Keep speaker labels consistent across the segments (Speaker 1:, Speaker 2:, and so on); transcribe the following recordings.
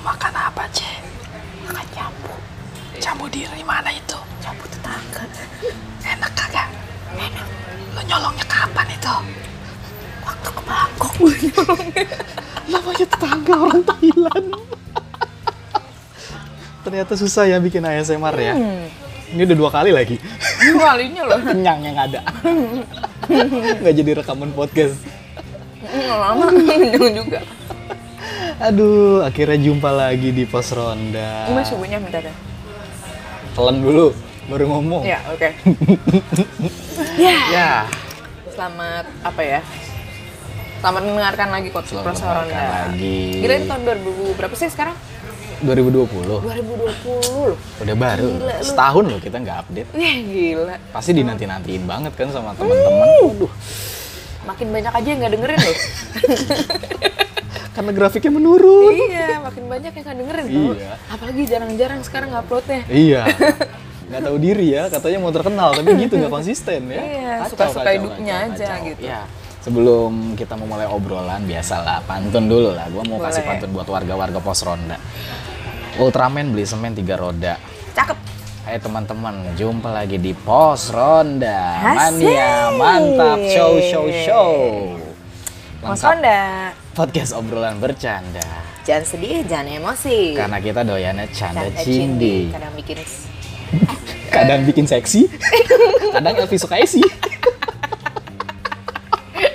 Speaker 1: makan apa cek makan jambu jambu diri mana itu jambu tetangga enak kagak enak lo nyolongnya kapan itu waktu ke Bangkok gue
Speaker 2: Namanya tetangga orang Thailand. Ternyata susah ya bikin ASMR ya.
Speaker 1: Hmm.
Speaker 2: Ini udah dua kali lagi.
Speaker 1: nyolongnya lo
Speaker 2: Kenyang yang ada. Nggak jadi rekaman podcast.
Speaker 1: Hmm, lama jangan juga
Speaker 2: Aduh, akhirnya jumpa lagi di pos ronda.
Speaker 1: ini masih punya bentar ya
Speaker 2: Telan dulu, baru ngomong.
Speaker 1: ya oke
Speaker 2: Ya,
Speaker 1: selamat apa ya selamat mendengarkan lagi Coach
Speaker 2: Selamat
Speaker 1: Prosa
Speaker 2: mendengarkan
Speaker 1: Ronda
Speaker 2: lagi.
Speaker 1: Gila ini tahun 2000 berapa sih sekarang?
Speaker 2: 2020.
Speaker 1: 2020 loh
Speaker 2: Udah baru. Setahun loh kita nggak update.
Speaker 1: Wih, gila
Speaker 2: Pasti dinanti-nantiin banget kan sama
Speaker 1: Hmm.
Speaker 2: teman-teman. Aduh,
Speaker 1: makin banyak aja yang nggak dengerin loh
Speaker 2: karena grafiknya menurun.
Speaker 1: iya makin banyak yang nggak dengerin tau.
Speaker 2: Iya.
Speaker 1: apalagi jarang-jarang sekarang uploadnya
Speaker 2: Iya. Nggak tahu diri ya, katanya mau terkenal tapi gitu nggak konsisten ya.
Speaker 1: Iya,
Speaker 2: Kacau,
Speaker 1: suka-suka
Speaker 2: kacau,
Speaker 1: hidupnya aja gitu.
Speaker 2: Iya. Sebelum kita memulai obrolan biasalah pantun dulu lah. Gua mau
Speaker 1: Boleh.
Speaker 2: kasih pantun buat warga-warga pos ronda. Ultraman beli semen tiga roda.
Speaker 1: cakep
Speaker 2: Hai teman-teman, jumpa lagi di pos ronda.
Speaker 1: Asik.
Speaker 2: Mania, mantap, show show show.
Speaker 1: Mas
Speaker 2: Lengkap
Speaker 1: Ronda
Speaker 2: podcast obrolan bercanda.
Speaker 1: jangan sedih jangan emosi
Speaker 2: Karena kita doyannya canda
Speaker 1: Tanda
Speaker 2: cindi.
Speaker 1: kadang bikin
Speaker 2: kadang bikin seksi, kadang Elvi suka esi.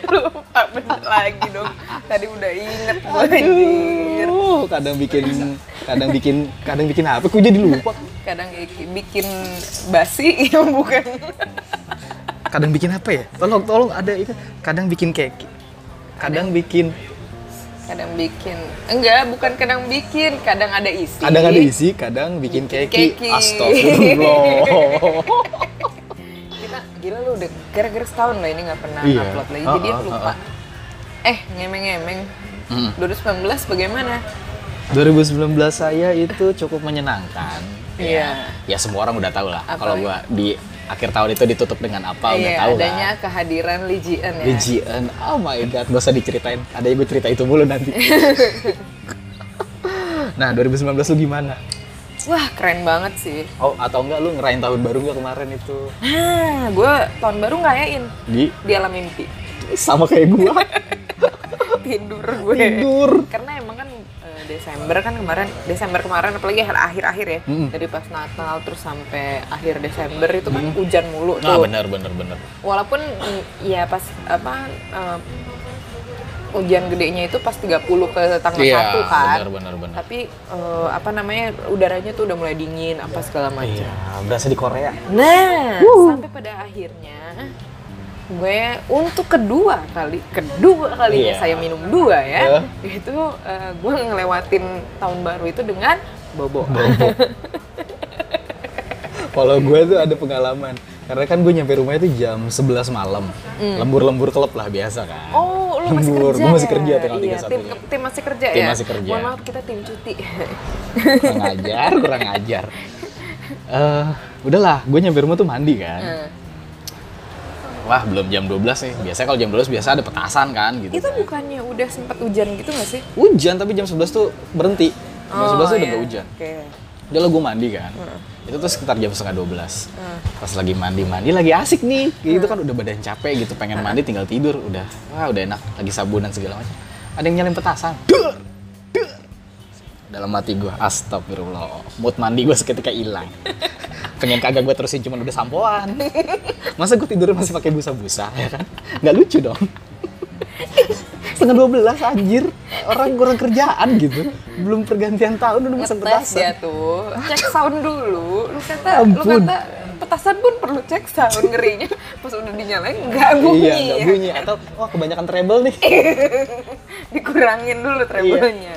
Speaker 1: lupa bener lagi dong tadi udah inget gue anjir
Speaker 2: Uh, kadang bikin, kadang bikin, kadang bikin apa? Kok jadi lupa?
Speaker 1: kadang i- bikin basi yang bukan
Speaker 2: Kadang bikin apa ya? Tolong, tolong ada itu. Kadang bikin keki, kadang bikin,
Speaker 1: kadang bikin enggak bukan kadang bikin kadang ada isi
Speaker 2: kadang ada isi, kadang bikin keki.
Speaker 1: keki.
Speaker 2: Astagfirullah.
Speaker 1: kita gila lu udah gara-gara setahun loh ini nggak pernah
Speaker 2: Iya.
Speaker 1: upload lagi
Speaker 2: Ah,
Speaker 1: jadi
Speaker 2: ah,
Speaker 1: aku
Speaker 2: ah,
Speaker 1: lupa
Speaker 2: ah. Hmm.
Speaker 1: eh ngemeng-ngemeng 2019 bagaimana
Speaker 2: 2019 saya itu cukup menyenangkan.
Speaker 1: Iya.
Speaker 2: Ya semua orang udah tahu lah.
Speaker 1: Apa?
Speaker 2: Kalau gua di akhir tahun itu ditutup dengan apa udah
Speaker 1: iya
Speaker 2: tahu lah.
Speaker 1: adanya kehadiran Lee Ji Eun ya
Speaker 2: Legion, oh my god, gak usah diceritain. Ada gue cerita itu mulu nanti. nah, 2019 lu gimana?
Speaker 1: wah keren banget sih
Speaker 2: Oh, atau enggak lu ngerayain tahun baru gak kemarin itu?
Speaker 1: nah gue tahun baru ngerayain
Speaker 2: Di
Speaker 1: di alam mimpi
Speaker 2: sama kayak gua.
Speaker 1: tidur gue
Speaker 2: Tidur.
Speaker 1: karena emang kan eh, Desember kan kemarin Desember kemarin apalagi akhir-akhir ya
Speaker 2: Mm-mm.
Speaker 1: dari pas Natal terus sampai akhir Desember itu kan hujan mulu
Speaker 2: Nah,
Speaker 1: tuh
Speaker 2: bener bener bener.
Speaker 1: walaupun mm, ya pas apa eh, hujan gedenya itu pas 30 ke tanggal
Speaker 2: Iya,
Speaker 1: satu kan
Speaker 2: benar, benar, benar.
Speaker 1: tapi eh, apa namanya udaranya tuh udah mulai dingin apa segala macam
Speaker 2: Iya, berasa di Korea.
Speaker 1: Nah, sampai pada akhirnya gue untuk kedua kali, kedua kalinya
Speaker 2: Iya.
Speaker 1: saya minum dua ya.
Speaker 2: Iya.
Speaker 1: Itu eh, gue ngelewatin tahun baru itu dengan bobo.
Speaker 2: Kalau gue tuh ada pengalaman. Karena kan gue nyampe rumah itu jam 11 malam. Lembur-lembur klub lah biasa kan.
Speaker 1: Mm. Oh, lu masih
Speaker 2: Lembur,
Speaker 1: kerja.
Speaker 2: gua masih kerja
Speaker 1: ya?
Speaker 2: tanggal
Speaker 1: Iya,
Speaker 2: 31
Speaker 1: tim,
Speaker 2: -nya.
Speaker 1: tim masih kerja
Speaker 2: Tim
Speaker 1: ya.
Speaker 2: masih kerja.
Speaker 1: Mohon maaf kita tim cuti.
Speaker 2: kurang ajar, kurang ajar. Eh, udahlah, gue nyampe rumah tuh mandi kan.
Speaker 1: Nah,
Speaker 2: Wah, belum jam 12 nih. Biasanya kalau jam 12 biasa ada petasan kan gitu.
Speaker 1: itu
Speaker 2: kan.
Speaker 1: bukannya udah sempat hujan gitu gak sih?
Speaker 2: Hujan tapi jam 11 tuh berhenti. Jam 11 tuh udah
Speaker 1: iya.
Speaker 2: gak hujan.
Speaker 1: Oke.
Speaker 2: Udah lah gue mandi kan.
Speaker 1: Hmm.
Speaker 2: Itu tuh sekitar jam setengah 12. Pas lagi mandi-mandi lagi asik nih. Gitu
Speaker 1: Hmm.
Speaker 2: kan udah badan capek gitu, pengen mandi tinggal tidur udah. Wah, udah enak lagi sabunan segala macam. Ada yang nyalin petasan. Dur! Dur! Dalam hati gue, astagfirullah. Mood mandi gue seketika hilang. pengen kagak gue terusin cuman udah sampoan masa gue tidur masih pakai busa-busa ya kan nggak lucu dong setengah dua belas anjir orang kurang kerjaan gitu belum pergantian tahun udah mesen
Speaker 1: Ngetes
Speaker 2: petasan
Speaker 1: ya tuh. Cek sound dulu. Lu kata lu
Speaker 2: Ampun.
Speaker 1: kata petasan pun perlu cek sound ngerinya. Pas udah dinyalain nggak bunyi. ya? Iya.
Speaker 2: iya nggak bunyi atau wah kebanyakan treble nih
Speaker 1: Dikurangin dulu
Speaker 2: Iya.
Speaker 1: treble-nya.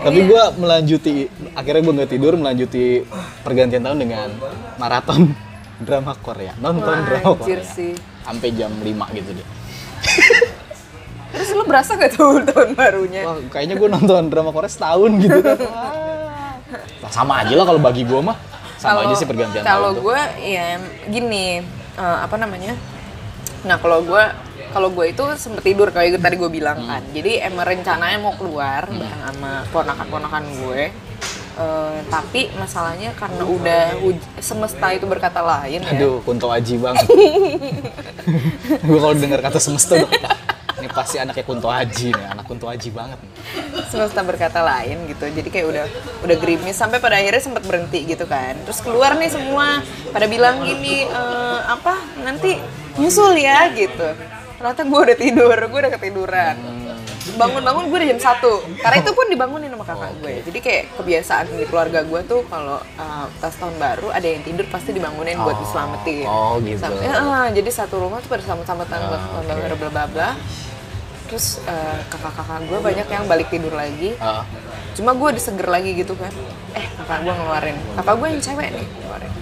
Speaker 2: tapi gue melanjuti akhirnya gue nggak tidur melanjuti pergantian tahun dengan maraton drama Korea nonton
Speaker 1: Wah,
Speaker 2: drama
Speaker 1: anjir
Speaker 2: Korea
Speaker 1: sih.
Speaker 2: sampai jam 5 gitu deh
Speaker 1: Terus lu berasa gak tuh tahun barunya?
Speaker 2: Wah, kayaknya gue nonton drama Korea setahun gitu kan. Wah. Sama aja lah kalau bagi gue mah. Sama aja sih pergantian
Speaker 1: Kalau iya,
Speaker 2: tahun tuh.
Speaker 1: gue ya gini, eh, apa namanya? Nah kalau gue Kalau gue itu sempet tidur kayak tadi gue bilang kan.
Speaker 2: Hmm.
Speaker 1: Jadi emang rencananya mau keluar bareng sama ponakan-ponakan gue. Eh, tapi masalahnya karena udah huj- semesta itu berkata lain ya.
Speaker 2: Aduh, Kunto Aji bang. gue kalau dengar kata semesta udah, "Wah, ini pasti anaknya Kunto Aji nih, anak Kunto Aji banget. nih."
Speaker 1: semesta berkata lain gitu jadi kayak udah udah gerimis sampai pada akhirnya sempat berhenti gitu kan terus keluar nih semua pada bilang gini "Eh, apa nanti nyusul ya gitu ternyata gue udah tidur gue udah ketiduran bangun-bangun gue udah jam satu karena itu pun dibangunin sama kakak gue jadi kayak kebiasaan di keluarga gue tuh kalau eh, pas tahun baru ada yang tidur pasti dibangunin buat
Speaker 2: Oh.
Speaker 1: diselamatin
Speaker 2: Oh, gitu.
Speaker 1: Sampai- eh, jadi satu rumah tuh pada sama-sama tanggal
Speaker 2: Ah,
Speaker 1: tahun
Speaker 2: oke.
Speaker 1: baru bla bla bla terus eh, kakak-kakak gue banyak yang balik tidur lagi
Speaker 2: Ah,
Speaker 1: cuma gue diseger lagi gitu kan eh kakak gue ngeluarin kakak gue yang cewek nih ngeluarin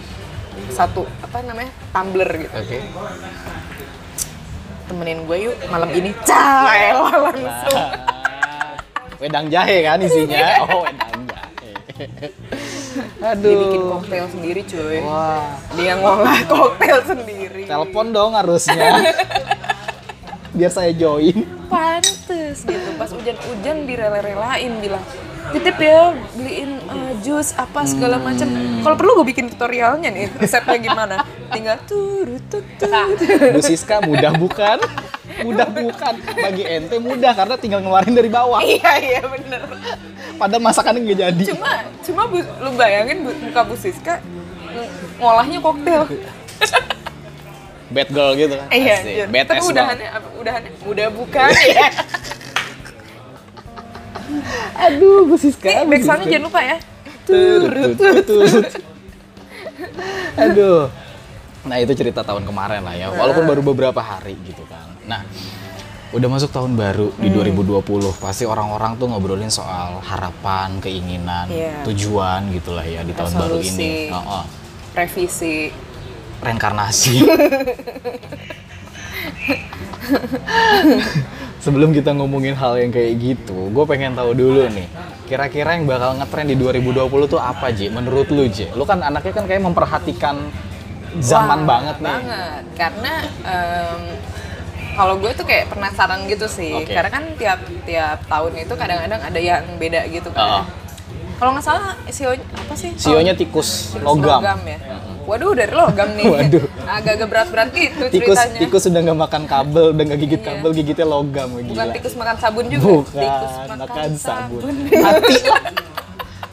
Speaker 1: satu apa namanya tumbler gitu
Speaker 2: Oke.
Speaker 1: temenin gue yuk malam ini cah elah langsung
Speaker 2: Ah, Wedang jahe kan
Speaker 1: Iya.
Speaker 2: isinya. Oh, wedang jahe.
Speaker 1: dia
Speaker 2: Aduh.
Speaker 1: bikin koktail sendiri cuy
Speaker 2: Wah.
Speaker 1: dia ngolah koktail sendiri
Speaker 2: Telepon dong harusnya. Biar saya join.
Speaker 1: pantes gitu pas hujan-hujan direla-relain bilang titip ya beliin eh, jus apa segala macam kalau perlu gue bikin tutorialnya nih resepnya gimana tinggal turut tut tut
Speaker 2: Bu Siska mudah bukan? Mudah bukan. Bagi ente mudah karena tinggal ngeluarin dari bawah.
Speaker 1: iya iya bener
Speaker 2: Padahal masakannya nggak jadi.
Speaker 1: cuma cuma bu, lu bayangin bu, muka Bu Siska ng- ngolahnya koktail
Speaker 2: Bad girl gitu kan.
Speaker 1: iya
Speaker 2: Asik.
Speaker 1: anjir.
Speaker 2: Bad
Speaker 1: tapi
Speaker 2: ass banget. Iya.
Speaker 1: udahannya apa- udahannya udah bukan ya
Speaker 2: Aduh, Bu Siska.
Speaker 1: Nih,
Speaker 2: Bu
Speaker 1: back
Speaker 2: Siska.
Speaker 1: soundnya jangan lupa ya
Speaker 2: Turut, turut, turut. Aduh. Nah, itu cerita tahun kemarin lah ya. Walaupun baru beberapa hari gitu kan. Nah, udah masuk tahun baru
Speaker 1: Hmm.
Speaker 2: di 2020. Pasti orang-orang tuh ngobrolin soal harapan, keinginan,
Speaker 1: Iya.
Speaker 2: tujuan gitulah ya di tahun baru
Speaker 1: Resolusi.
Speaker 2: ini. Oh, oh.
Speaker 1: revisi
Speaker 2: reinkarnasi. Sebelum kita ngomongin hal yang kayak gitu, gue pengen tahu dulu nih. Kira-kira yang bakal ngetren di 2020 tuh apa, Ji? Menurut lu, Ji? Lu kan anaknya kan kayak memperhatikan zaman
Speaker 1: Wah,
Speaker 2: banget nih.
Speaker 1: banget. karena em, kalau gue tuh kayak penasaran gitu sih
Speaker 2: Oke.
Speaker 1: karena kan tiap tiap tahun itu kadang-kadang ada yang beda gitu
Speaker 2: Ah.
Speaker 1: kan kalau nggak salah CEO apa sih
Speaker 2: Sionya tikus,
Speaker 1: Tikus
Speaker 2: logam.
Speaker 1: ya waduh dari logam nih
Speaker 2: Waduh.
Speaker 1: agak-agak berat-berat gitu
Speaker 2: Tikus,
Speaker 1: ceritanya
Speaker 2: tikus udah nggak makan kabel, udah nggak gigit kabel, gigitnya logam. Gila.
Speaker 1: Bukan tikus makan sabun juga.
Speaker 2: Bukan,
Speaker 1: tikus
Speaker 2: makan, sabun. Mati lah.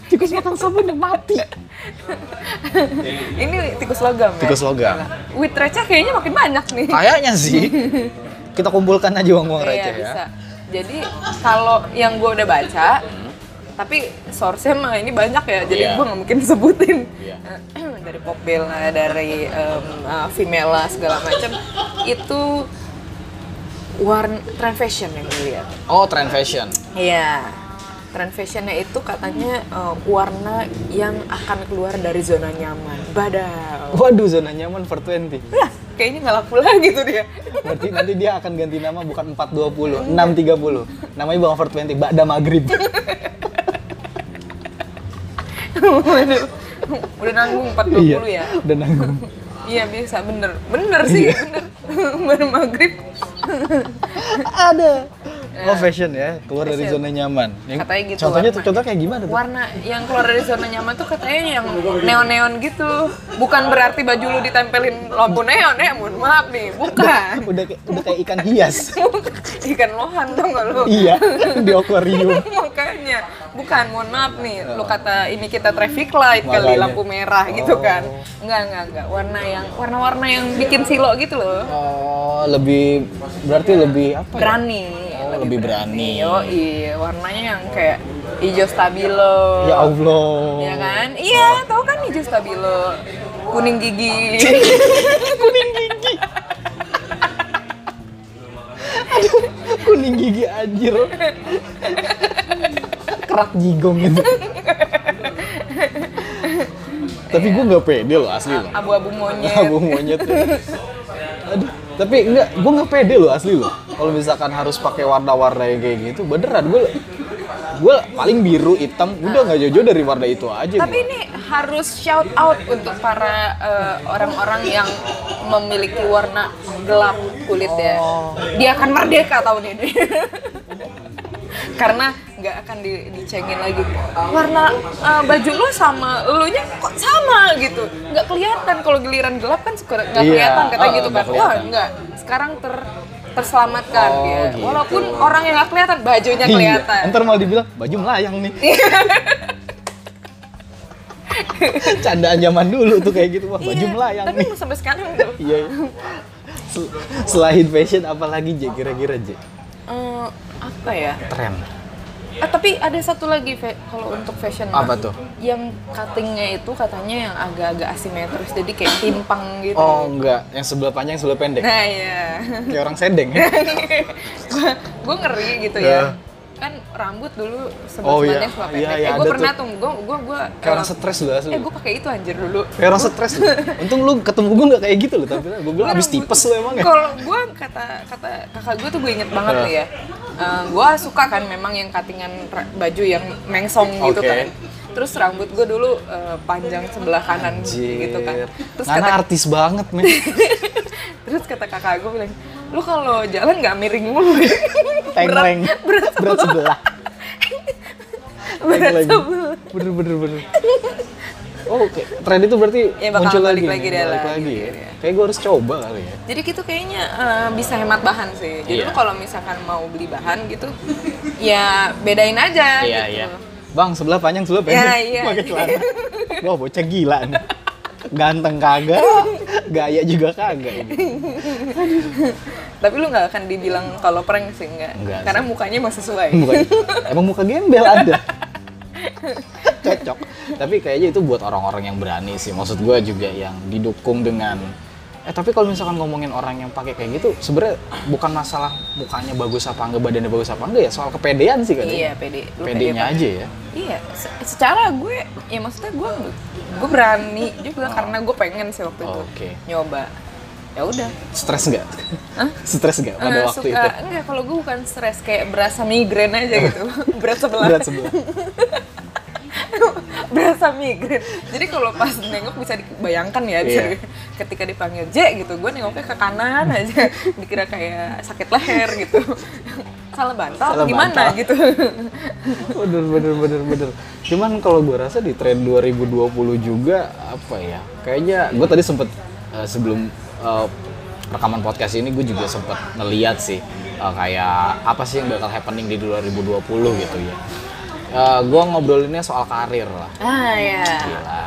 Speaker 2: tikus makan sabun udah mati.
Speaker 1: Ini tikus logam ya.
Speaker 2: Tikus logam.
Speaker 1: Wit receh kayaknya makin banyak nih.
Speaker 2: Kayaknya sih. Kita kumpulkan aja uang-uang
Speaker 1: Iya,
Speaker 2: receh ya.
Speaker 1: bisa. Jadi kalau yang gue udah baca, tapi source-nya mah ini banyak ya, jadi
Speaker 2: Iya.
Speaker 1: gue nggak mungkin sebutin.
Speaker 2: Iya.
Speaker 1: dari Popbella, dari em, uh, Vimela segala macam itu warna trend fashion yang gue lihat.
Speaker 2: Oh, trend fashion.
Speaker 1: Iya. Trend fashionnya itu katanya eh, warna yang akan keluar dari zona nyaman. Badal.
Speaker 2: Waduh, zona nyaman for 20.
Speaker 1: Lah, kayaknya nggak laku lagi tuh dia.
Speaker 2: Berarti nanti dia akan ganti nama
Speaker 1: Iya.
Speaker 2: bukan 420, 630. Namanya bukan for 20, Ba'da Maghrib.
Speaker 1: Waduh. Udah nanggung 420 ya?
Speaker 2: udah nanggung.
Speaker 1: Iya biasa, bener. Bener sih, bener. Baru maghrib.
Speaker 2: Ada. Oh, fashion ya, keluar dari
Speaker 1: Iya. Fashion.
Speaker 2: zona nyaman. Yang-
Speaker 1: Katanya gitu
Speaker 2: Contohnya
Speaker 1: warnanya.
Speaker 2: contoh kayak gimana tuh?
Speaker 1: Warna yang keluar dari zona nyaman tuh katanya yang neon-neon gitu. Bukan berarti baju lu ditempelin logo neon ya, mohon maaf nih. Bukan.
Speaker 2: Udah kayak- udah kayak ikan hias.
Speaker 1: Ikan lohan tau nggak lu?
Speaker 2: iya, di akuarium.
Speaker 1: Iya, makanya bukan mohon maaf nih lu kata ini kita traffic light kali
Speaker 2: Makanya.
Speaker 1: lampu merah gitu
Speaker 2: Oh.
Speaker 1: kan enggak enggak enggak warna yang warna-warna yang bikin silo gitu loh
Speaker 2: Oh, lebih berarti lebih apa? ya?
Speaker 1: berani
Speaker 2: Oh, lebih berani.
Speaker 1: yo warnanya yang kayak hijau stabilo
Speaker 2: Ya Allah.
Speaker 1: ya kan iya tahu kan hijau stabilo kuning gigi
Speaker 2: kuning gigi anjir kerak jigong gitu tapi gue nggak pede loh asli loh
Speaker 1: abu-abu monyet
Speaker 2: abu monyet ya. aduh tapi enggak gue nggak pede loh asli loh kalau misalkan harus pakai warna-warna yang kayak gitu beneran gue gue paling biru hitam udah nggak jauh-jauh dari warna itu aja
Speaker 1: tapi
Speaker 2: gua.
Speaker 1: ini harus shout out untuk para eh, orang-orang yang memiliki warna gelap kulit ya.
Speaker 2: Oh.
Speaker 1: Dia akan merdeka tahun ini. Karena nggak akan di- dicengin lagi. Warna eh, baju lu sama elunya kok sama gitu. Nggak kelihatan kalau giliran gelap kan suka nggak
Speaker 2: Iya,
Speaker 1: kelihatan kata
Speaker 2: oh,
Speaker 1: gitu
Speaker 2: nggak
Speaker 1: kan. Wah
Speaker 2: kelihatan.
Speaker 1: nggak. Sekarang ter- terselamatkan
Speaker 2: Oh,
Speaker 1: dia.
Speaker 2: gitu.
Speaker 1: Walaupun orang yang nggak kelihatan bajunya
Speaker 2: Iya,
Speaker 1: kelihatan.
Speaker 2: Ntar malah dibilang baju melayang nih. Candaan zaman dulu tuh kayak gitu, wah baju
Speaker 1: Iya,
Speaker 2: melayang
Speaker 1: Tapi
Speaker 2: nih.
Speaker 1: emang sampai sekarang tuh,
Speaker 2: Iya. iya. Sel- Selain fashion apalagi J kira-kira J?
Speaker 1: eh, apa ya?
Speaker 2: Tren.
Speaker 1: Ah, tapi ada satu lagi Fe, kalau untuk fashion.
Speaker 2: Apa tuh?
Speaker 1: Yang cuttingnya itu katanya yang agak-agak asimetris, jadi kayak timpang gitu.
Speaker 2: Oh enggak, yang sebelah panjang yang sebelah pendek.
Speaker 1: Nah ya,
Speaker 2: Kayak orang sedeng ya.
Speaker 1: gue ngeri gitu
Speaker 2: Nah.
Speaker 1: ya. Kan rambut dulu
Speaker 2: Oh,
Speaker 1: sebelah sebelahnya
Speaker 2: iya.
Speaker 1: suka
Speaker 2: Iya,
Speaker 1: pendek.
Speaker 2: iya,
Speaker 1: eh, gue
Speaker 2: ada
Speaker 1: pernah
Speaker 2: tuh.
Speaker 1: tuh, gue gue gue.
Speaker 2: Kayak orang stres lu asli.
Speaker 1: Eh gue pakai itu anjir dulu.
Speaker 2: Kayak orang stres lu. Untung lu ketemu gue gak kayak gitu loh tapi gue bilang abis
Speaker 1: Rambut-
Speaker 2: tipes lu emang ya.
Speaker 1: Kalau gue kata kata kakak gue tuh gue inget banget
Speaker 2: Heeh.
Speaker 1: tuh ya. gue suka kan memang yang katingan ra- baju yang mengsong gitu
Speaker 2: Oke.
Speaker 1: kan. Terus rambut gue dulu eh, panjang sebelah kanan gitu kan.
Speaker 2: Anjir.
Speaker 1: Terus
Speaker 2: Nana
Speaker 1: kata
Speaker 2: artis banget men.
Speaker 1: terus kata kakak gue bilang, lu kalau jalan nggak miring mulu. ya."
Speaker 2: Tengleng.
Speaker 1: berat,
Speaker 2: Berat sebelah.
Speaker 1: berat
Speaker 2: Tengleng.
Speaker 1: sebelah.
Speaker 2: Bener bener bener. Oh, Oke, tren itu berarti
Speaker 1: Ya, bakal
Speaker 2: muncul
Speaker 1: balik
Speaker 2: lagi,
Speaker 1: lagi
Speaker 2: nih,
Speaker 1: dia
Speaker 2: balik
Speaker 1: lah,
Speaker 2: lagi
Speaker 1: gitu
Speaker 2: ya.
Speaker 1: ya.
Speaker 2: Kayak gue harus coba kali ya.
Speaker 1: Jadi gitu kayaknya eh, bisa hemat bahan sih. Jadi
Speaker 2: Iya.
Speaker 1: lu kalau misalkan mau beli bahan gitu, ya bedain aja gitu.
Speaker 2: Iya, Bang, sebelah panjang, sebelah
Speaker 1: Ya,
Speaker 2: pendek.
Speaker 1: iya.
Speaker 2: Pakai celana. Wah, bocah gila nih. Ganteng kagak, gaya juga kagak. ini.
Speaker 1: Tapi lu nggak akan dibilang kalau prank sih nggak,
Speaker 2: Nggak
Speaker 1: karena
Speaker 2: sih.
Speaker 1: mukanya masih sesuai.
Speaker 2: Bukan, emang muka gembel ada. Cocok. Tapi kayaknya itu buat orang-orang yang berani sih. Maksud gue juga yang didukung dengan Eh tapi kalau misalkan ngomongin orang yang pakai kayak gitu, sebenarnya bukan masalah mukanya bagus apa enggak, badannya bagus apa enggak ya, soal kepedean sih kali.
Speaker 1: Iya, pede. Lu pede
Speaker 2: Pedenya
Speaker 1: banget.
Speaker 2: aja ya.
Speaker 1: Iya, se- secara gue, ya maksudnya gue gue berani juga karena gue pengen sih waktu itu
Speaker 2: Oh. Oke.
Speaker 1: nyoba. Ya udah.
Speaker 2: Stres enggak? Stres enggak pada
Speaker 1: Eh,
Speaker 2: waktu
Speaker 1: suka,
Speaker 2: itu?
Speaker 1: Enggak, kalau gue bukan stres kayak berasa migrain aja gitu. berat sebelah.
Speaker 2: Berat sebelah.
Speaker 1: berasa migrain. Jadi kalau pas nengok bisa dibayangkan ya, bisa
Speaker 2: Iya.
Speaker 1: di- ketika dipanggil J gitu, gue nengoknya ke kanan aja, dikira kayak sakit leher gitu. Salah bantal
Speaker 2: Salah
Speaker 1: atau gimana
Speaker 2: bantal.
Speaker 1: gitu.
Speaker 2: bener bener bener bener cuman kalau gue rasa di tren 2020 juga apa ya kayaknya gue tadi sempet eh, sebelum eh, rekaman podcast ini gue juga sempet ngeliat sih eh, kayak apa sih yang bakal happening di 2020 gitu ya Eh, gue ngobrolinnya soal karir lah
Speaker 1: Ah ya.
Speaker 2: gila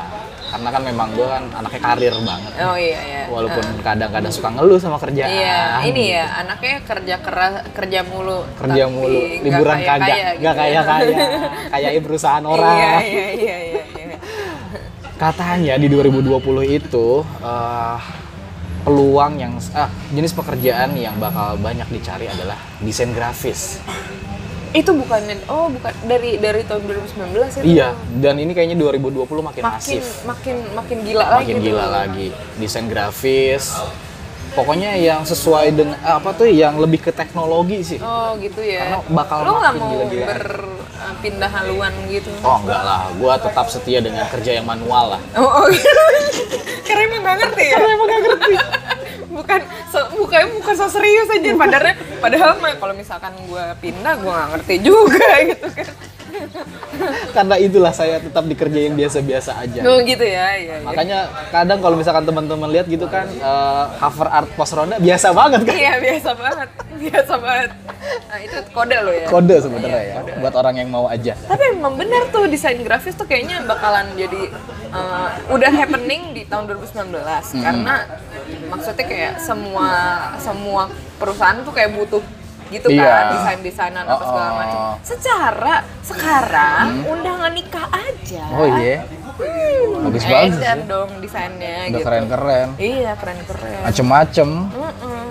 Speaker 2: karena kan memang gue kan anaknya karir banget
Speaker 1: Oh iya ya.
Speaker 2: walaupun kadang-kadang suka ngeluh sama kerjaan
Speaker 1: Iya, ini ya anaknya kerja keras, kerja mulu,
Speaker 2: kerja
Speaker 1: tapi
Speaker 2: mulu
Speaker 1: nggak
Speaker 2: liburan kagak
Speaker 1: kaya-kaya
Speaker 2: nggak
Speaker 1: gitu
Speaker 2: kaya
Speaker 1: ya.
Speaker 2: kaya kayain perusahaan orang
Speaker 1: Iya, iya, iya, iya, iya.
Speaker 2: Katanya di 2020 itu eh, peluang yang ah, jenis pekerjaan yang bakal banyak dicari adalah desain grafis.
Speaker 1: Itu bukannya oh bukan dari dari tahun 2019 itu.
Speaker 2: Iya, dan ini kayaknya 2020 makin,
Speaker 1: ya. Makin oh, gitu.
Speaker 2: masif,
Speaker 1: makin makin gila lagi.
Speaker 2: makin
Speaker 1: tuh.
Speaker 2: gila lagi. Desain grafis, pokoknya yang sesuai dengan eh, apa tuh yang lebih ke teknologi sih.
Speaker 1: Oh, gitu ya.
Speaker 2: Karena bakal
Speaker 1: Lu nggak
Speaker 2: makin
Speaker 1: mau
Speaker 2: gila-gilaan.
Speaker 1: berpindah haluan gitu.
Speaker 2: Oh enggak lah, gua tetap setia dengan kerja yang manual lah.
Speaker 1: Oh, oh. karena emang gak ngerti ya? Karena emang gak ngerti. bukan so, mukanya bukan so serius aja padahal padahal mah kalau misalkan gue pindah gue gak ngerti juga gitu kan.
Speaker 2: Karena itulah saya tetap di kerja yang biasa-biasa aja.
Speaker 1: Oh gitu ya, iya iya.
Speaker 2: Makanya kadang kalau misalkan teman-teman lihat gitu kan eh, cover art pos ronda biasa banget kan.
Speaker 1: Iya biasa banget, biasa banget. Nah, itu kode lo ya.
Speaker 2: Kode sebenarnya ya buat orang yang mau aja.
Speaker 1: Tapi emang benar tuh desain grafis tuh kayaknya bakalan jadi eh, udah happening di tahun 2019
Speaker 2: Hmm.
Speaker 1: karena maksudnya kayak semua semua perusahaan tuh kayak butuh gitu kan
Speaker 2: Iya.
Speaker 1: desain desainan apa segala
Speaker 2: Oh, oh.
Speaker 1: macam. Secara sekarang undangan nikah aja.
Speaker 2: Oh iya.
Speaker 1: Hmm,
Speaker 2: Bagus banget
Speaker 1: edan
Speaker 2: sih.
Speaker 1: dong desainnya
Speaker 2: Udah
Speaker 1: gitu.
Speaker 2: keren-keren.
Speaker 1: Iya keren keren.
Speaker 2: Macem-macem.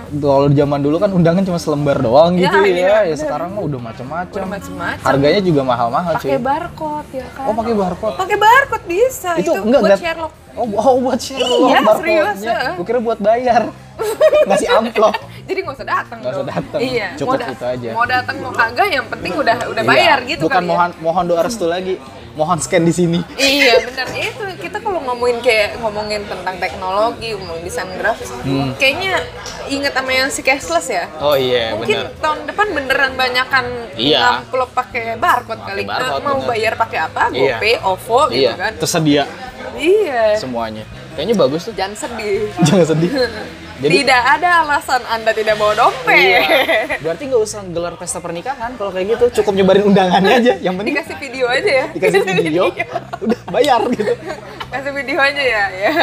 Speaker 2: Kalau zaman dulu kan undangan cuma selembar doang
Speaker 1: Ya,
Speaker 2: gitu
Speaker 1: iya,
Speaker 2: ya. Ya,
Speaker 1: bener.
Speaker 2: sekarang mah udah macem-macem.
Speaker 1: Udah macem-macem.
Speaker 2: Harganya juga mahal-mahal cuy.
Speaker 1: Pakai barcode ya kan.
Speaker 2: Oh pakai barcode.
Speaker 1: Pakai barcode bisa. Itu,
Speaker 2: enggak
Speaker 1: buat
Speaker 2: enggak-
Speaker 1: Sherlock.
Speaker 2: Oh, bu- oh, buat Sherlock
Speaker 1: Iya,
Speaker 2: barcode-nya.
Speaker 1: serius, heeh.
Speaker 2: Gua kira buat bayar. Ngasih amplop.
Speaker 1: Jadi nggak usah datang
Speaker 2: Nggak usah
Speaker 1: dong.
Speaker 2: datang.
Speaker 1: Iya.
Speaker 2: Cukup
Speaker 1: mau da-
Speaker 2: itu aja.
Speaker 1: Mau datang mau kagak yang penting udah udah bayar
Speaker 2: Iya,
Speaker 1: gitu
Speaker 2: Bukan
Speaker 1: kali ya.
Speaker 2: mohon mohon doa restu lagi. mohon scan di sini
Speaker 1: iya benar itu kita kalau ngomongin kayak ngomongin tentang teknologi ngomongin desain grafis
Speaker 2: Hmm.
Speaker 1: kayaknya inget sama yang si cashless ya
Speaker 2: oh iya
Speaker 1: mungkin
Speaker 2: bener
Speaker 1: tahun depan beneran banyakan
Speaker 2: Iya.
Speaker 1: ngamplop pakai barcode
Speaker 2: Pakai
Speaker 1: kali Nah,
Speaker 2: barcode,
Speaker 1: mau
Speaker 2: bener.
Speaker 1: bayar pakai apa
Speaker 2: Iya.
Speaker 1: GoPay, OVO gitu
Speaker 2: iya
Speaker 1: kan
Speaker 2: tersedia
Speaker 1: iya
Speaker 2: semuanya kayaknya bagus tuh
Speaker 1: jangan sedih
Speaker 2: jangan sedih jadi
Speaker 1: tidak ada alasan anda tidak bawa dompet
Speaker 2: iya. berarti nggak usah gelar pesta pernikahan kalau kayak gitu cukup nyebarin undangannya aja yang penting
Speaker 1: dikasih video aja ya
Speaker 2: dikasih video udah bayar gitu
Speaker 1: kasih video aja ya ya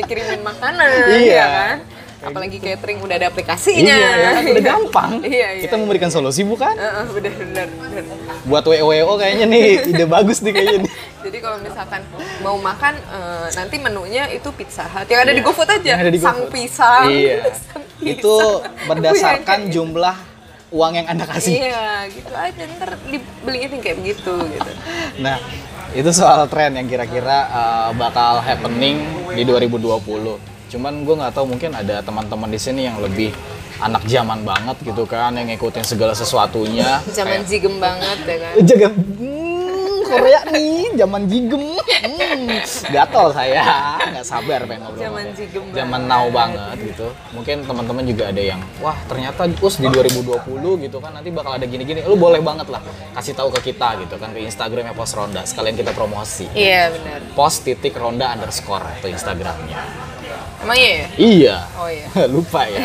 Speaker 1: dikirimin makanan
Speaker 2: Iya.
Speaker 1: ya kan apalagi catering udah ada aplikasinya
Speaker 2: iya ya kan? udah
Speaker 1: Iya.
Speaker 2: gampang
Speaker 1: iya, iya,
Speaker 2: kita memberikan solusi bukan
Speaker 1: Heeh, bener bener bener.
Speaker 2: buat WOWO kayaknya nih ide bagus nih kayaknya nih
Speaker 1: Jadi kalau misalkan mau makan eh, nanti menunya itu pizza hut yang ada di GoFood aja.
Speaker 2: Iya. Yang ada di
Speaker 1: Sang
Speaker 2: GoFood.
Speaker 1: pisang.
Speaker 2: Iya.
Speaker 1: Sang pisang.
Speaker 2: itu berdasarkan
Speaker 1: Iya,
Speaker 2: jumlah uang yang anda kasih
Speaker 1: Iya, gitu aja ntar dibeliin yang kayak begitu gitu.
Speaker 2: Nah, itu soal tren yang kira-kira uh, bakal happening di 2020. Cuman gue nggak tahu mungkin ada teman-teman di sini yang lebih anak zaman banget gitu kan, yang ngikutin segala sesuatunya.
Speaker 1: Zaman
Speaker 2: Kayak,
Speaker 1: jigem banget ya kan.
Speaker 2: Jaga hmm, Korea nih, zaman jigem. Hmm, gatel saya, nggak sabar pengen ngobrol. sama
Speaker 1: Zaman
Speaker 2: dia.
Speaker 1: jigem
Speaker 2: Zaman
Speaker 1: banget.
Speaker 2: now banget gitu. Mungkin teman-teman juga ada yang, wah ternyata us di 2020 gitu kan nanti bakal ada gini-gini. Lu boleh banget lah kasih tahu ke kita gitu kan ke Instagramnya Pos Ronda. Sekalian kita promosi.
Speaker 1: Iya benar.
Speaker 2: Pos titik Ronda underscore itu Instagramnya.
Speaker 1: Emang iya ya?
Speaker 2: Iya.
Speaker 1: Oh iya.
Speaker 2: Lupa ya.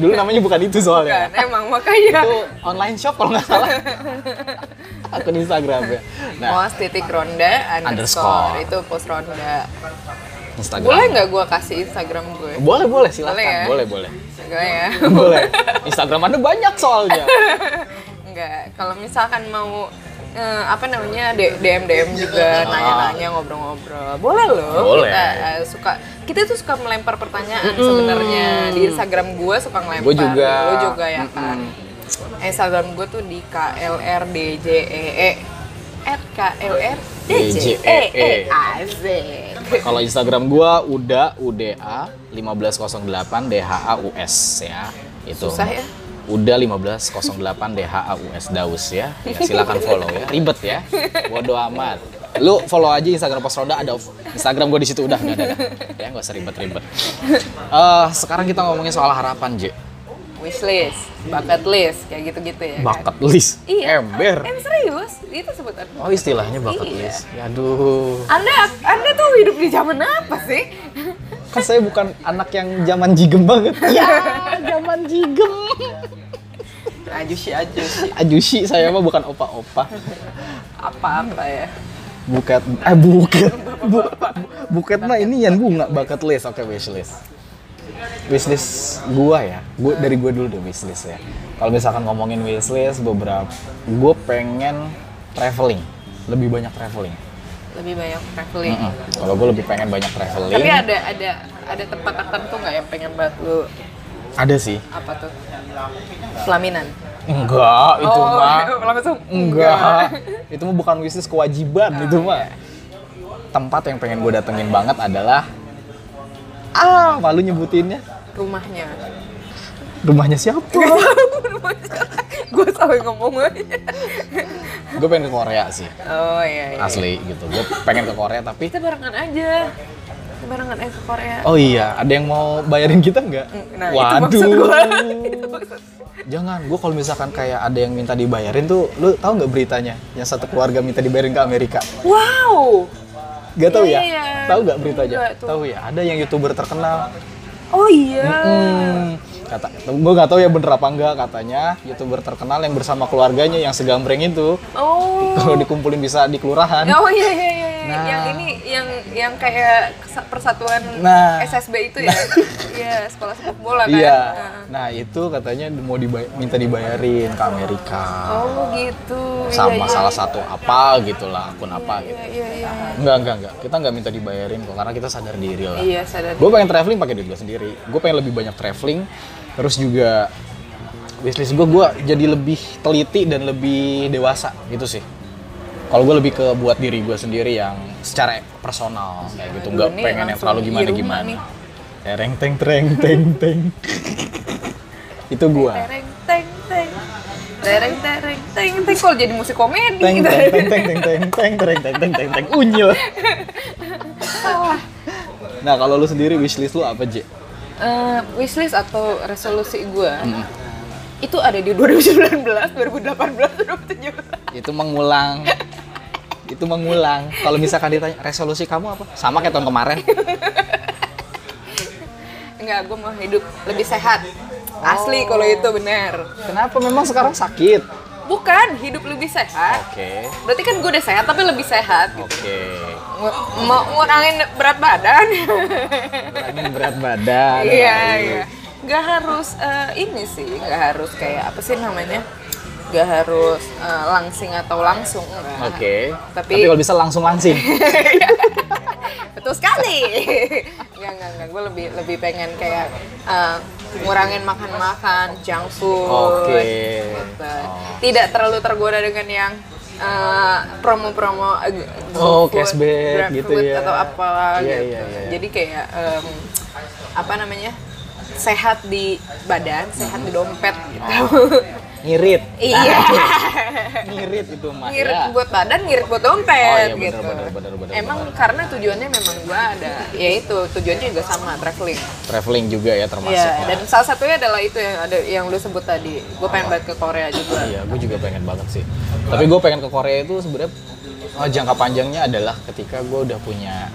Speaker 2: Dulu namanya bukan itu soalnya.
Speaker 1: Kan, emang makanya.
Speaker 2: Itu online shop kalau nggak salah. Akun Instagramnya. Nah,
Speaker 1: Mos titik ronda
Speaker 2: Underscore.
Speaker 1: underscore, itu post ronda.
Speaker 2: Instagram.
Speaker 1: Boleh nggak gua kasih Instagram gue?
Speaker 2: Boleh, boleh, silakan.
Speaker 1: Boleh ya?
Speaker 2: Boleh, boleh.
Speaker 1: Enggak ya.
Speaker 2: Boleh. Instagram Anda banyak soalnya.
Speaker 1: Enggak, kalau misalkan mau eh, apa namanya DM DM juga nanya-nanya ngobrol-ngobrol boleh loh
Speaker 2: Ah. Boleh.
Speaker 1: kita eh, suka kita tuh suka melempar pertanyaan sebenarnya di Instagram gue suka ngelempar
Speaker 2: Gua juga.
Speaker 1: Lu juga ya kan Instagram gue tuh di KLRDJEE E at
Speaker 2: E
Speaker 1: KLRDJEE E asik
Speaker 2: Kalau Instagram gua udah UDA 1508 DHAUS ya. Itu.
Speaker 1: Susah ya?
Speaker 2: Udah 1508 DHAUS Daus ya. ya. Silakan follow ya. Ribet ya. Bodoh amat. Lu follow aja Instagram Pos Ronda ada Instagram gua di situ udah nggak ada. dah. Ya nggak usah ribet-ribet. Eh, sekarang kita ngomongin soal harapan,
Speaker 1: Iya.
Speaker 2: J.
Speaker 1: wishlist bucket list kayak gitu-gitu ya kan?
Speaker 2: Bucket list.
Speaker 1: iya
Speaker 2: Ember.
Speaker 1: em serius itu sebutan
Speaker 2: Oh, istilahnya
Speaker 1: Iya.
Speaker 2: bucket list. Ya aduh.
Speaker 1: Anda Anda tuh hidup di zaman apa sih?
Speaker 2: Kan saya bukan anak yang zaman jigem banget. Ya, zaman jigem.
Speaker 1: Ajusi ajusi
Speaker 2: Ajushi saya mah bukan opa-opa.
Speaker 1: apa-apa ya.
Speaker 2: Buket eh buket. Bu, buket mah ini yang bunga bucket list. Oke, wishlist. Wishlist gua ya. Gua dari gua dulu deh wishlist ya. Kalau misalkan ngomongin wishlist beberapa gua pengen traveling. Lebih banyak traveling.
Speaker 1: Lebih banyak traveling.
Speaker 2: Mm. Kalau gua lebih pengen banyak traveling.
Speaker 1: Tapi ada ada ada tempat tertentu nggak yang pengen banget lu
Speaker 2: Ada sih.
Speaker 1: apa tuh? Pelaminan. Oh,
Speaker 2: Enggak, itu mah.
Speaker 1: langsung
Speaker 2: Enggak, itu mah bukan wishlist kewajiban
Speaker 1: Ah,
Speaker 2: itu mah.
Speaker 1: iya.
Speaker 2: Tempat yang pengen gue datengin banget adalah ah malu nyebutinnya
Speaker 1: Rumahnya.
Speaker 2: rumahnya siapa?
Speaker 1: Gue sampai ngomong aja.
Speaker 2: gue pengen ke Korea sih
Speaker 1: Oh iya iya.
Speaker 2: asli gitu. Gue pengen ke Korea tapi
Speaker 1: Kita barengan aja. Kita barengan aja ke Korea.
Speaker 2: oh iya ada yang mau bayarin kita nggak?
Speaker 1: Nah, itu maksud gua. Itu maksud-
Speaker 2: Jangan, gue kalau misalkan kayak ada yang minta dibayarin tuh, lu tahu nggak beritanya? Yang satu keluarga minta dibayarin ke Amerika.
Speaker 1: Wow.
Speaker 2: Gak tahu
Speaker 1: Iya,
Speaker 2: ya?
Speaker 1: iya.
Speaker 2: Tahu nggak beritanya?
Speaker 1: Nggak tuh.
Speaker 2: Tahu ya? Ada yang youtuber terkenal
Speaker 1: Oh iya.
Speaker 2: Hmm, kata gue nggak tahu ya bener apa enggak katanya youtuber terkenal yang bersama keluarganya yang segambreng itu
Speaker 1: Oh.
Speaker 2: kalau dikumpulin bisa di kelurahan
Speaker 1: Oh iya iya iya iya.
Speaker 2: Nah.
Speaker 1: yang ini yang yang kayak kesa- persatuan
Speaker 2: Nah.
Speaker 1: SSB itu ya. Iya, sekolah sepak bola kan.
Speaker 2: iya
Speaker 1: Nah.
Speaker 2: nah itu katanya mau dibay- minta dibayarin ke Amerika
Speaker 1: Oh gitu. Iya,
Speaker 2: sama
Speaker 1: iya,
Speaker 2: salah satu apa gitulah akun apa gitu
Speaker 1: Iya iya iya.
Speaker 2: enggak enggak enggak kita nggak minta dibayarin kok karena kita sadar diri lah
Speaker 1: Iya sadar.
Speaker 2: gue pengen traveling pakai duit gue sendiri gue pengen lebih banyak traveling terus juga wishlist gue gue jadi lebih teliti dan lebih dewasa gitu sih kalau gue lebih ke buat diri gue sendiri yang secara personal kayak gitu nggak
Speaker 1: Aduh, ini
Speaker 2: pengen yang
Speaker 1: langsung
Speaker 2: terlalu
Speaker 1: di
Speaker 2: gimana
Speaker 1: rumah
Speaker 2: gimana
Speaker 1: nih.
Speaker 2: tereng teng tereng teng teng itu gue
Speaker 1: Tereng teng teng. tereng tereng teng teng kalau jadi musik komedi
Speaker 2: teng
Speaker 1: gitu.
Speaker 2: teng teng teng teng teng teng teng teng teng teng teng unyil nah kalau lu sendiri wishlist lu apa J?
Speaker 1: Eh, wishlist atau resolusi gue itu ada di 2019, 2018, 2017.
Speaker 2: itu mengulang itu mengulang kalau misalkan ditanya resolusi kamu apa sama kayak tahun kemarin
Speaker 1: Enggak, gue mau hidup lebih sehat. Asli kalau
Speaker 2: Oh.
Speaker 1: itu benar.
Speaker 2: kenapa memang sekarang sakit
Speaker 1: Bukan hidup lebih sehat.
Speaker 2: oke
Speaker 1: Berarti kan gue udah sehat tapi lebih sehat.
Speaker 2: oke
Speaker 1: Ngu- Mau ngurangin berat badan.
Speaker 2: Kurangin berat badan
Speaker 1: Iya, iya. Nggak harus eh, ini sih, nggak harus kayak apa sih namanya? Nggak harus eh, langsing atau langsung. enggak.
Speaker 2: oke tapi,
Speaker 1: Tapi,
Speaker 2: kalau bisa langsung langsing
Speaker 1: betul sekali. Nggak, nggak, nggak. Gue lebih lebih pengen kayak eh, ngurangin makan-makan junk food.
Speaker 2: Oke.
Speaker 1: gitu. Tidak terlalu tergoda dengan yang eh, promo-promo eh, GoFood,
Speaker 2: Oh,
Speaker 1: GrabFood
Speaker 2: cashback gitu ya.
Speaker 1: atau apalah
Speaker 2: Iya,
Speaker 1: gitu.
Speaker 2: iya, iya.
Speaker 1: Jadi kayak em, apa namanya? sehat di badan, sehat di dompet gitu.
Speaker 2: Ah. ngirit
Speaker 1: Iya.
Speaker 2: ngirit itu mah
Speaker 1: ngirit
Speaker 2: ya.
Speaker 1: buat badan, ngirit buat dompet
Speaker 2: Oh, iya,
Speaker 1: gitu.
Speaker 2: bener, bener, bener, bener,
Speaker 1: Emang karena tujuannya memang gua ada, ya itu tujuannya juga sama traveling.
Speaker 2: traveling juga ya
Speaker 1: Iya.
Speaker 2: termasuknya
Speaker 1: Dan salah satunya adalah itu yang ada yang lu sebut tadi. Gue pengen banget ke Korea juga.
Speaker 2: Iya, gue juga pengen banget sih. Tapi gue pengen ke Korea itu sebenarnya eh, jangka panjangnya adalah ketika gue udah punya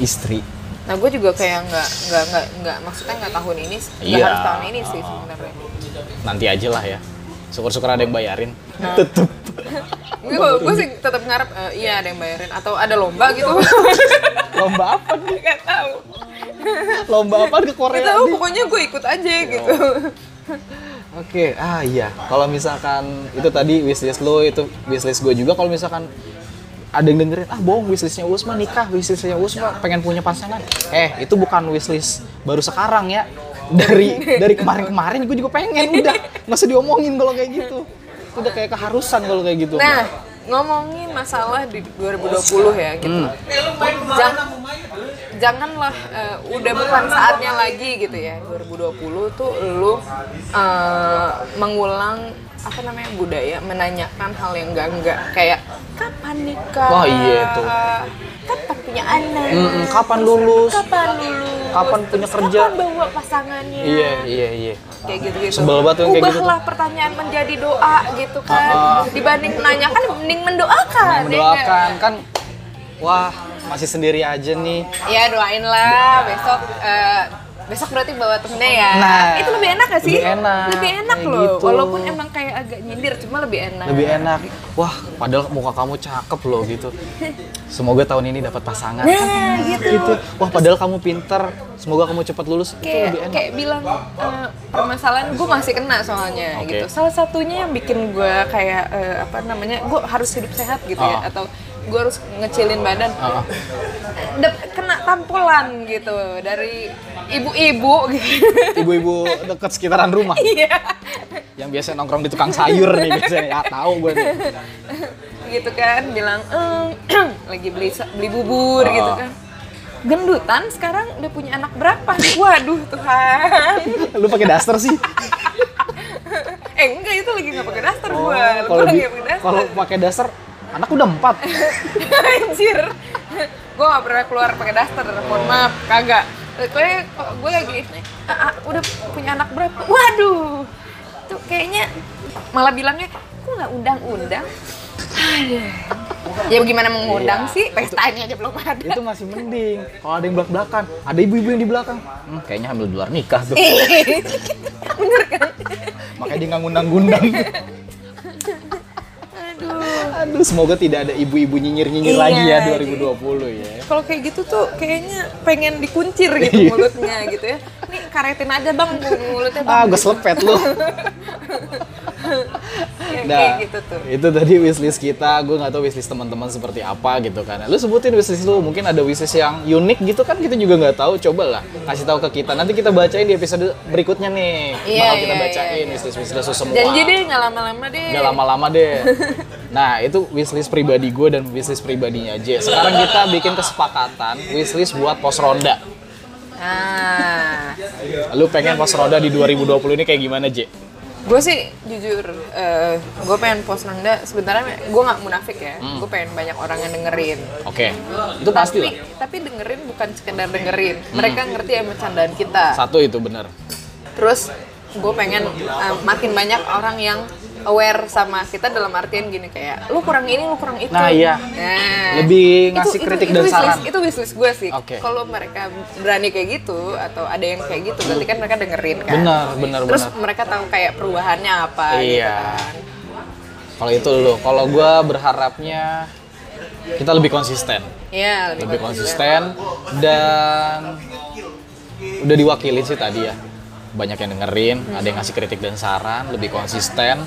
Speaker 2: istri.
Speaker 1: Nah gue juga kayak nggak nggak nggak nggak maksudnya nggak tahun ini, nggak
Speaker 2: Iya.
Speaker 1: harus tahun ini sih sebenarnya.
Speaker 2: Nanti aja lah ya. Syukur-syukur ada yang bayarin.
Speaker 1: Nah.
Speaker 2: Tetep.
Speaker 1: Mungkin kalau gue sih tetap ngarep, eh, iya ada yang bayarin atau ada lomba gitu.
Speaker 2: Lomba apa nih?
Speaker 1: Gak tahu.
Speaker 2: Lomba apa ke
Speaker 1: Gak
Speaker 2: Korea
Speaker 1: tahu.
Speaker 2: nih?
Speaker 1: Pokoknya gue ikut aja gitu.
Speaker 2: Oke, ah iya. Kalau misalkan itu tadi wishlist lo, itu wishlist gue juga. Kalau misalkan ada yang dengerin, ah bohong wishlistnya Usma nikah, wishlistnya Usma pengen punya pasangan. Eh, itu bukan wishlist baru sekarang ya. Dari dari kemarin-kemarin gue juga pengen udah. Nggak usah diomongin kalau kayak gitu. Udah kayak keharusan kalau kayak gitu.
Speaker 1: Nah ngomongin masalah di 2020 ya gitu.
Speaker 2: Hmm.
Speaker 1: Jang- janganlah eh, udah bukan saatnya lagi gitu ya 2020 tuh lu eh, mengulang apa namanya budaya menanyakan hal yang enggak enggak kayak kapan nikah
Speaker 2: Wah, iya tuh.
Speaker 1: kapan punya anak
Speaker 2: Mm-mm, kapan lulus?
Speaker 1: kapan lulus
Speaker 2: Kapan punya
Speaker 1: Terus
Speaker 2: kerja?
Speaker 1: kapan bawa pasangannya
Speaker 2: Iya, iya, iya.
Speaker 1: kayak gitu-gitu.
Speaker 2: Sebel banget tuh yang kayak gitu tuh.
Speaker 1: Ubahlah pertanyaan menjadi doa gitu kan.
Speaker 2: Ah, ah.
Speaker 1: Dibanding menanyakan mending mendoakan. ya nggak?
Speaker 2: Mendoakan kan wah, masih sendiri aja nih.
Speaker 1: Ya doain lah besok eh, besok berarti bawa temennya ya.
Speaker 2: Nah,
Speaker 1: itu lebih enak gak sih?
Speaker 2: lebih enak.
Speaker 1: Lebih enak
Speaker 2: Kayak
Speaker 1: loh.
Speaker 2: gitu.
Speaker 1: Walaupun emang kayak agak nyindir cuma lebih enak.
Speaker 2: Lebih enak. Wah, padahal muka kamu cakep loh gitu. Semoga tahun ini dapat pasangan. kan?
Speaker 1: Nah, gitu.
Speaker 2: itu wah padahal kamu pinter semoga kamu cepat lulus itu
Speaker 1: Kayak,
Speaker 2: lebih enak
Speaker 1: kayak bilang eh, permasalahan gue masih kena soalnya
Speaker 2: Oke.
Speaker 1: gitu. Salah satunya yang bikin gue kayak eh, apa namanya, gue harus hidup sehat gitu ya,
Speaker 2: Ah.
Speaker 1: atau gue harus ngecilin badan.
Speaker 2: Ah, ah.
Speaker 1: Dep- kena tampolan gitu dari ibu-ibu gitu.
Speaker 2: ibu-ibu deket sekitaran rumah
Speaker 1: Iya.
Speaker 2: yang biasa nongkrong di tukang sayur nih biasanya ya tahu gue nih
Speaker 1: gitu kan bilang "Em, lagi beli sa- beli bubur
Speaker 2: Ah.
Speaker 1: gitu kan. Gendutan sekarang udah punya anak berapa? Waduh Tuhan.
Speaker 2: lu pakai daster sih
Speaker 1: Eh enggak itu lagi nggak pakai daster
Speaker 2: Oh,
Speaker 1: gua. Gua
Speaker 2: kalau
Speaker 1: lagi
Speaker 2: di-
Speaker 1: nggak pakai daster.
Speaker 2: kalau pakai daster anak udah empat
Speaker 1: Anjir. Gua nggak pernah keluar pakai daster. Mohon maaf, kagak. Gue gue lagi "Ah, ah, udah punya anak berapa? Waduh. Tuh kayaknya malah bilangnya aku nggak undang-undang. Aduh. Ya gimana mau ngundang
Speaker 2: Iya.
Speaker 1: sih? Pestanya aja belum ada.
Speaker 2: itu masih mending kalau ada yang belak belakan ada ibu-ibu yang di belakang hmm, kayaknya hamil di luar nikah tuh
Speaker 1: Bener kan?
Speaker 2: makanya dia nggak ngundang-ngundang
Speaker 1: Aduh.
Speaker 2: aduh semoga tidak ada ibu-ibu nyinyir-nyinyir lagi ya
Speaker 1: Iya.
Speaker 2: 2020 ya
Speaker 1: Kalau kayak gitu tuh kayaknya pengen dikuncir gitu mulutnya gitu ya. Nih karetin aja bang mulutnya bang.
Speaker 2: ah gue selepet lu
Speaker 1: Ya, kayak
Speaker 2: Nah,
Speaker 1: gitu tuh.
Speaker 2: itu tadi wishlist kita. Gue nggak tahu wishlist teman-teman seperti apa gitu kan. Lu sebutin wishlist lu, mungkin ada wishlist yang unik gitu kan kita juga nggak tahu. Cobalah kasih tahu ke kita. Nanti kita bacain di episode berikutnya nih.
Speaker 1: Iya,
Speaker 2: Bakal kita
Speaker 1: iya,
Speaker 2: bacain
Speaker 1: iya, iya.
Speaker 2: wishlist wishlist lu semua.
Speaker 1: Janji deh nggak lama-lama deh.
Speaker 2: Nggak lama-lama deh. Nah, itu wishlist pribadi gue dan wishlist pribadinya aja. Sekarang kita bikin kesepakatan wishlist buat pos ronda.
Speaker 1: Ah, Nah.
Speaker 2: Lu pengen pos ronda di 2020 ini kayak gimana, Je?
Speaker 1: Gue sih jujur, eh, gue pengen post nunda sebenarnya gue nggak munafik ya. Gue pengen banyak orang yang dengerin.
Speaker 2: Oke, itu Hmm. pasti
Speaker 1: tapi,
Speaker 2: lah. Hmm.
Speaker 1: tapi dengerin bukan sekedar dengerin. Mereka ngerti ya bercandaan kita.
Speaker 2: Satu itu bener.
Speaker 1: Terus gue pengen eh, makin banyak orang yang aware sama kita dalam artian gini kayak lu kurang ini lu kurang itu
Speaker 2: Nah, iya.
Speaker 1: Nah,
Speaker 2: Lebih ngasih kritik dan
Speaker 1: wishlist-
Speaker 2: saran.
Speaker 1: itu wishlist gue sih
Speaker 2: Oke.
Speaker 1: kalau mereka berani kayak gitu atau ada yang kayak gitu berarti kan mereka dengerin kan
Speaker 2: Benar, benar,
Speaker 1: terus
Speaker 2: benar.
Speaker 1: mereka tahu kayak perubahannya apa gitu
Speaker 2: Iya.
Speaker 1: kan
Speaker 2: Kalau itu dulu, kalau gue berharapnya kita lebih konsisten,
Speaker 1: Iya, lebih,
Speaker 2: lebih konsisten dan udah diwakilin sih tadi ya. Banyak yang dengerin, ada yang ngasih kritik dan saran, lebih konsisten.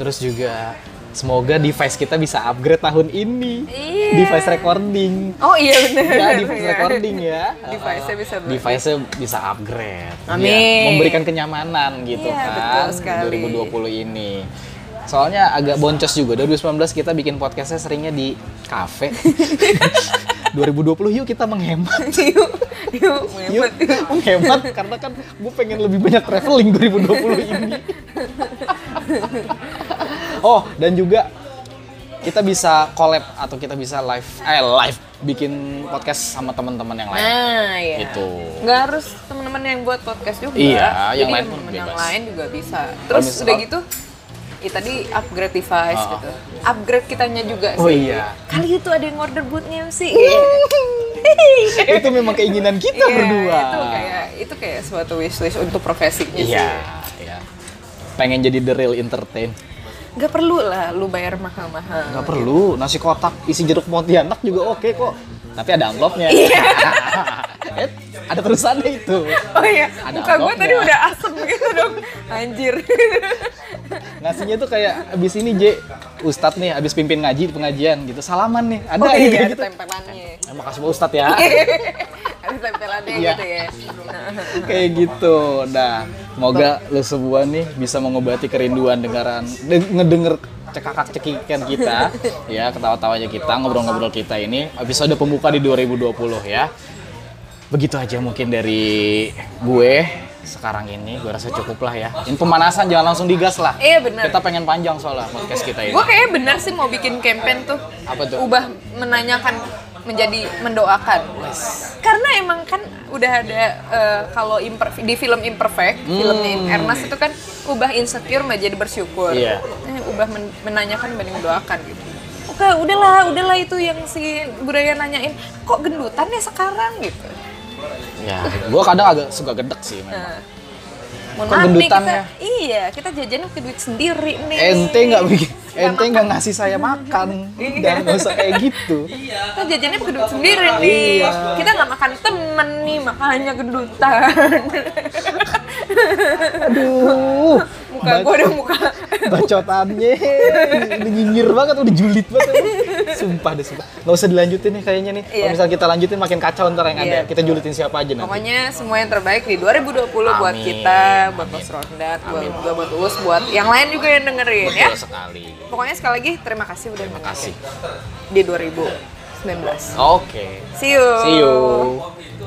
Speaker 2: Terus juga semoga device kita bisa upgrade tahun ini.
Speaker 1: Iya.
Speaker 2: Device recording.
Speaker 1: oh iya benar
Speaker 2: Ya, device recording ya.
Speaker 1: Device-nya bisa ber-
Speaker 2: Device-nya bisa upgrade.
Speaker 1: Amin.
Speaker 2: Ya, memberikan kenyamanan gitu
Speaker 1: Iya,
Speaker 2: kan.
Speaker 1: betul sekali.
Speaker 2: 2020 ini. Soalnya agak boncos juga. 2019 kita bikin podcastnya seringnya di kafe. 2020 yuk kita menghemat.
Speaker 1: yuk yuk
Speaker 2: Yuk,
Speaker 1: menghemat.
Speaker 2: menghemat karena kan gue pengen lebih banyak traveling 2020 ini. oh, dan juga kita bisa collab atau kita bisa live eh live bikin podcast sama teman-teman yang lain.
Speaker 1: Nah, iya.
Speaker 2: Gitu.
Speaker 1: Nggak harus teman-teman yang buat podcast juga.
Speaker 2: Iya, yang
Speaker 1: Jadi
Speaker 2: lain
Speaker 1: temen-temen
Speaker 2: pun
Speaker 1: yang
Speaker 2: bebas.
Speaker 1: lain juga bisa. Terus
Speaker 2: misal-
Speaker 1: udah gitu, ya tadi upgrade device
Speaker 2: Ah.
Speaker 1: gitu. Upgrade kitanya juga
Speaker 2: Oh
Speaker 1: sih.
Speaker 2: iya.
Speaker 1: Kali itu ada yang order bootnya sih.
Speaker 2: itu memang keinginan kita
Speaker 1: Iya,
Speaker 2: berdua.
Speaker 1: Itu kayak itu kayak suatu wishlist untuk profesinya
Speaker 2: Iya,
Speaker 1: sih.
Speaker 2: iya. Pengen jadi the real entertain.
Speaker 1: Nggak perlu lah lu bayar mahal-mahal.
Speaker 2: Nggak perlu, nasi kotak isi jeruk pontianak juga oke kok. Tapi ada amplopnya.
Speaker 1: Iya.
Speaker 2: Eh, ada perusahaannya itu.
Speaker 1: Oh iya,
Speaker 2: Ada
Speaker 1: muka gue
Speaker 2: amplopnya.
Speaker 1: tadi udah asem gitu dong. Anjir.
Speaker 2: Ngasihnya tuh kayak abis ini J, Ustadz nih abis pimpin ngaji di pengajian gitu, salaman nih. Ada
Speaker 1: Oh
Speaker 2: yang
Speaker 1: iya,
Speaker 2: kayak
Speaker 1: ada
Speaker 2: gitu.
Speaker 1: tempelannya.
Speaker 2: Eh, makasih Pak Ustadz ya.
Speaker 1: Ada tempelannya
Speaker 2: Iya.
Speaker 1: gitu ya.
Speaker 2: kayak gitu. Nah, semoga lu semua nih bisa mengobati kerinduan dengaran de- ngedenger cekakak cekikan kita ya ketawa-tawanya kita ngobrol-ngobrol kita ini episode pembuka di 2020 ya begitu aja mungkin dari gue sekarang ini gue rasa cukup lah ya ini pemanasan jangan langsung digas lah
Speaker 1: Iya, benar.
Speaker 2: kita pengen panjang soalnya podcast kita ini
Speaker 1: Gue kayaknya benar sih mau bikin campaign tuh.
Speaker 2: Apa tuh?
Speaker 1: Ubah menanyakan menjadi mendoakan. Karena emang kan udah ada eh, kalau imper- di film Imperfect,
Speaker 2: Hmm.
Speaker 1: filmnya Ernest itu kan ubah insecure menjadi bersyukur.
Speaker 2: Iya.
Speaker 1: Eh, ubah men- menanyakan banding mendoakan gitu. Oke, udahlah, udahlah itu yang si budaya nanyain, kok gendutan ya sekarang gitu.
Speaker 2: ya gue kadang agak suka gedek sih memang
Speaker 1: Nah. Mohon
Speaker 2: Kok
Speaker 1: maaf nih
Speaker 2: gendutan
Speaker 1: kita,
Speaker 2: ya?
Speaker 1: iya kita jajannya ke duit sendiri nih.
Speaker 2: ente nggak bikin
Speaker 1: Kita
Speaker 2: ente nggak ngasih saya makan dan nggak usah kayak gitu
Speaker 1: Kita jajannya gendut sendiri nih.
Speaker 2: Iya.
Speaker 1: Kita nggak makan temen nih, makanya gendutan.
Speaker 2: aduh
Speaker 1: muka gue udah muka.
Speaker 2: bacotannya udah nyinyir banget udah julid banget sumpah deh sumpah nggak usah dilanjutin nih kayaknya nih kalau
Speaker 1: Iya.
Speaker 2: misalnya kita lanjutin makin kacau ntar yang ada
Speaker 1: Iya.
Speaker 2: kita julidin siapa aja nanti
Speaker 1: Pokoknya semua yang terbaik di 2020 buat
Speaker 2: Amin.
Speaker 1: kita, buat Mas Rondat, buat gue, buat Uus, buat yang lain juga yang dengerin ya.
Speaker 2: sekali
Speaker 1: Pokoknya sekali lagi terima kasih udah terima
Speaker 2: kasih
Speaker 1: di 2019.
Speaker 2: oke
Speaker 1: See you.
Speaker 2: see you